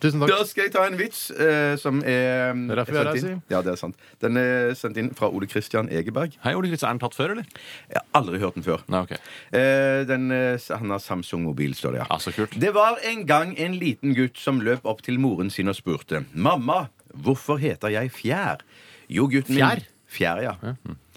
Tusen Da altså. takk. skal jeg ta en vits eh, som er Det er derfor vi er her, sendt inn. Ja, det er sant. Den er sendt inn fra Ole Christian Egeberg. Hei, Ole Kristian. Er den tatt før, eller? Jeg har aldri hørt den før. Nei, ok. Eh, den, eh, han har Samsung-mobil, står det. ja. Ja, så kult. Det var en gang en liten gutt som løp opp til moren sin og spurte Mamma, hvorfor heter jeg Fjær? Jo, gutten min Fjær? hm. Fjær, ja.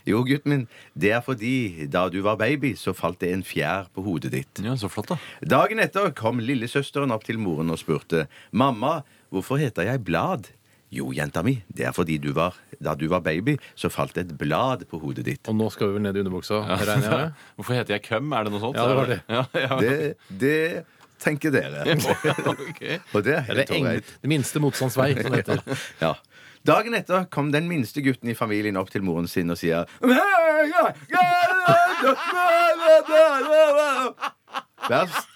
Jo, gutten min, det er fordi da du var baby, så falt det en fjær på hodet ditt. Ja, så flott, da. Dagen etter kom lillesøsteren opp til moren og spurte Mamma, hvorfor heter jeg Blad? Jo, jenta mi, det er fordi du var, da du var baby, så falt et blad på hodet ditt. Og nå skal vi vel ned i underbuksa, regner jeg med? Hvorfor heter jeg Køm? Er det noe sånt? Ja, det var det. Ja, ja. Det, det tenker dere. Ok. Og det er Eller helt eng, ålreit. det minste motstands vei, som det heter. Ja. Dagen etter kom den minste gutten i familien opp til moren sin og sier Vær s-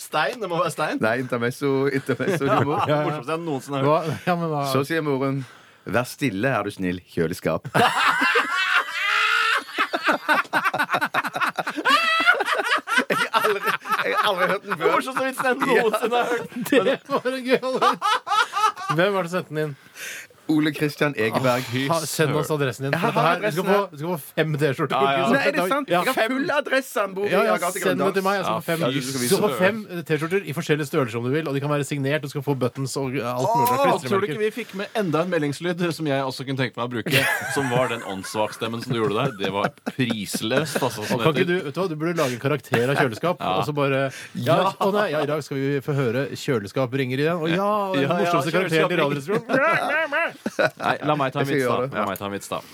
Stein. Det må være stein. Nei, intermezzo, intermezzo humor. Ja, ja. Morsomste jeg noensinne har hørt. Hva, ja, men hva, Så sier moren Vær stille, er du snill. Kjøleskap. Jeg har aldri, jeg har aldri hørt den Det før. morsomste vitsen jeg noensinne har hørt. det var en gøy Hvem var det som sendte den inn? Ole Christian Egeberg. Ha, send oss adressen din. Jeg har For dette her, du, skal få, adressen du skal få fem T-skjorter. Ja, ja. ikke Nei, er det sant? Ja, Jeg har fem. full adresse! Han bor i Ja, ja, Agathe send det Grøndals. til meg. Jeg skal få fem, Ja, du skal du vise skal få det. fem T-skjorter i forskjellige størrelser om du vil. Og de kan være signert, og du skal få buttons og alt mulig. Åh, slags tror du ikke klistremerker. vi fikk med enda en meldingslyd som jeg også kunne tenke meg å bruke? Som var den åndssvakstemmen som du gjorde der. Det var prisløst, altså. Som Og kan det ikke du, heter. vet du, hva, du burde lage en karakter av kjøleskap. Og så bare ja, Å nei, ja, i dag skal vi få høre 'Kjøleskap ringer' igjen. Og ja, den Ja, ja, morsomste karakteren i kjøleskap Radioresepsjonen. Nei, la meg ta en Jeg vits, skal da. gjøre det. La meg ta en vits, da.